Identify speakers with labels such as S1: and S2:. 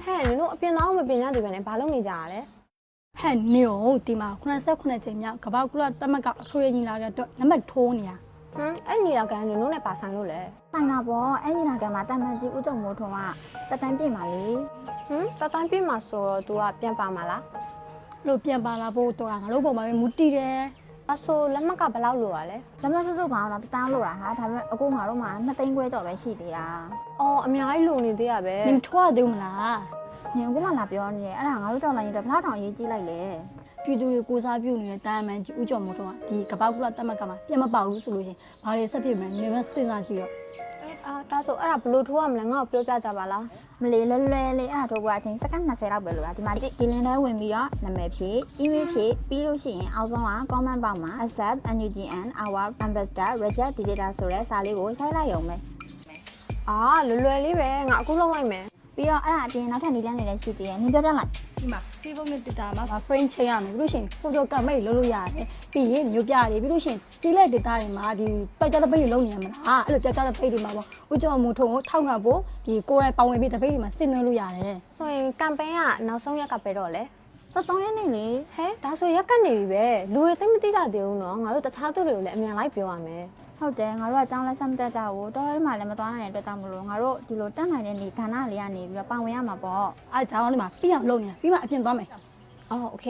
S1: ဟဲ့နင်တို့အပြင်သားမပင်ရသေးပဲနဲ့ဘာလုပ်နေကြရလဲ
S2: ဟဲ့နေဦးဒီမှာ89ချိန်မြောက်ကပောက်ကုလသမက်ကအထွေညီလာခဲ့တော့လက်မှတ်ထိုးနေရ
S1: ဟမ်အဲ့ညီလာကန်နင်တို့နဲ့ပါဆိုင်လို့လဲ
S3: ဆိုင်တာပေါ့အဲ့ညီလာခံမှာတာမန်ကြီးဦးကျော်မိုးထွန်းကတက်တန်းပြင်ပါလေ
S1: ဟမ်တတိုင်းပြမှာဆိုတော့ तू ကပြန်ပါမှာလား
S2: လို့ပြန်ပါလာဖို့တော့ငါတို့ပုံမှာပဲမူတည်တယ်
S1: အဆိုလက်မှတ်ကဘယ်လောက်လိုရလဲ
S3: လက်မဆုပ်ဆုပ်ပါအောင်တော့တန်းလို့တာဟာဒါပေမဲ့အခုငါတို့မှာနှစ်သိန်းခွဲကျော်ပဲရှိသေးတာ
S1: အော်အများကြီးလိုနေသေးရပဲ
S2: နင်ထွားသေးမလား
S3: ညင်ကလာလာပြောနေတယ်အဲ့ဒါငါတို့တော်လိုင်းတွေဘယ်လောက်တောင်ရေးကြည့်လိုက်လဲ
S2: ပြည်သူတွေကိုစားပြုနေတဲ့တာမန်ကြီးဦးကျော်မိုးတော့ဒီကပောက်ကုလသမက်ကမှာပြန်မပေါက်ဘူးဆိုလို့ရှိရင်ဘာတွေဆက်ဖြစ်မလဲနေမစဉ်းစားကြည့်တော့
S1: အာဒါဆိုအဲ့ဒါဘယ်လိုထိုးရမလဲငါ့ကိုပြောပြကြပါလား
S3: မလေးလဲလဲလေးအဲ့ဒါတို့ကအချိန်စက္ကန့်20လောက်ပဲလို့လားဒီမှာကြည့်ဒီလင်းထဲဝင်ပြီးတော့နာမည်ဖြည့် email ဖြည့်ပြီးလို့ရှိရင်အောက်ဆုံးက comment box မှာ accept ngn our ambassador reject digital ဆိုတဲ့စာလေးကိုရိုက်လိုက်ရုံပဲ
S1: အာလွယ်လွယ်လေးပဲငါအခုလောက်လိုက်မယ်
S3: ပြီးတော့အဲ့ဒါအပြင်နောက်ထပ်နည်းလမ်းတွေလည်းရှိသေးတယ်နင်ပြောပြလိုက်
S2: ဒီမှာ Facebook နဲ့ Twitter မှာဗာ frame ချိန်ရမယ်ပြီးလို့ရှိရင် photo campaign လုပ်လို့ရတယ်ပြီးရင်မျိုးပြတွေပြီးလို့ရှိရင်ကြီးလက် data တွေမှာဒီပက်ကြတဲ့ပိတ်တွေလုပ်နေရမလားအဲ့လိုပက်ကြတဲ့ပိတ်တွေမှာပေါ့ဦးကျော်မိုးထွန်းကိုထောက်ခံဖို့ဒီကိုယ်တိုင်ပါဝင်ပြီးတဲ့ပိတ်တွေမှာစဉ်းနှွှဲလို့ရတယ်
S1: ဆိုရင်ကမ်ပိန်းကနောက်ဆုံးရက်ကပဲတော့လဲ
S3: 73ရက်နေ့လေ
S1: ဟဲ့ဒါဆိုရက်ကနေပြီပဲလူတွေသိပ်မသိကြသေးဘူးနော်ငါတို့တခြားသူတွေကိုလည်းအမြန်လိုက်ပြောရမယ်
S3: ဟုတ်တယ်ငါတို့ကကျောင်းလက်ဆက်မတက်ကြဘူးတော်ရဲမှာလည်းမသွားနိုင်တဲ့အတွက်ကြောင့်မလို့ငါတို့ဒီလိုတက်နိုင်တဲ့နေကဏ္ဍလေးကနေပြီးတော့ပါဝင်ရမှာပေါ့
S2: အားကြောင့်ဒီမှာပြီးအောင်လုပ်နေတာပြီးမှအပြင်သွားမယ်
S1: အော်โอเค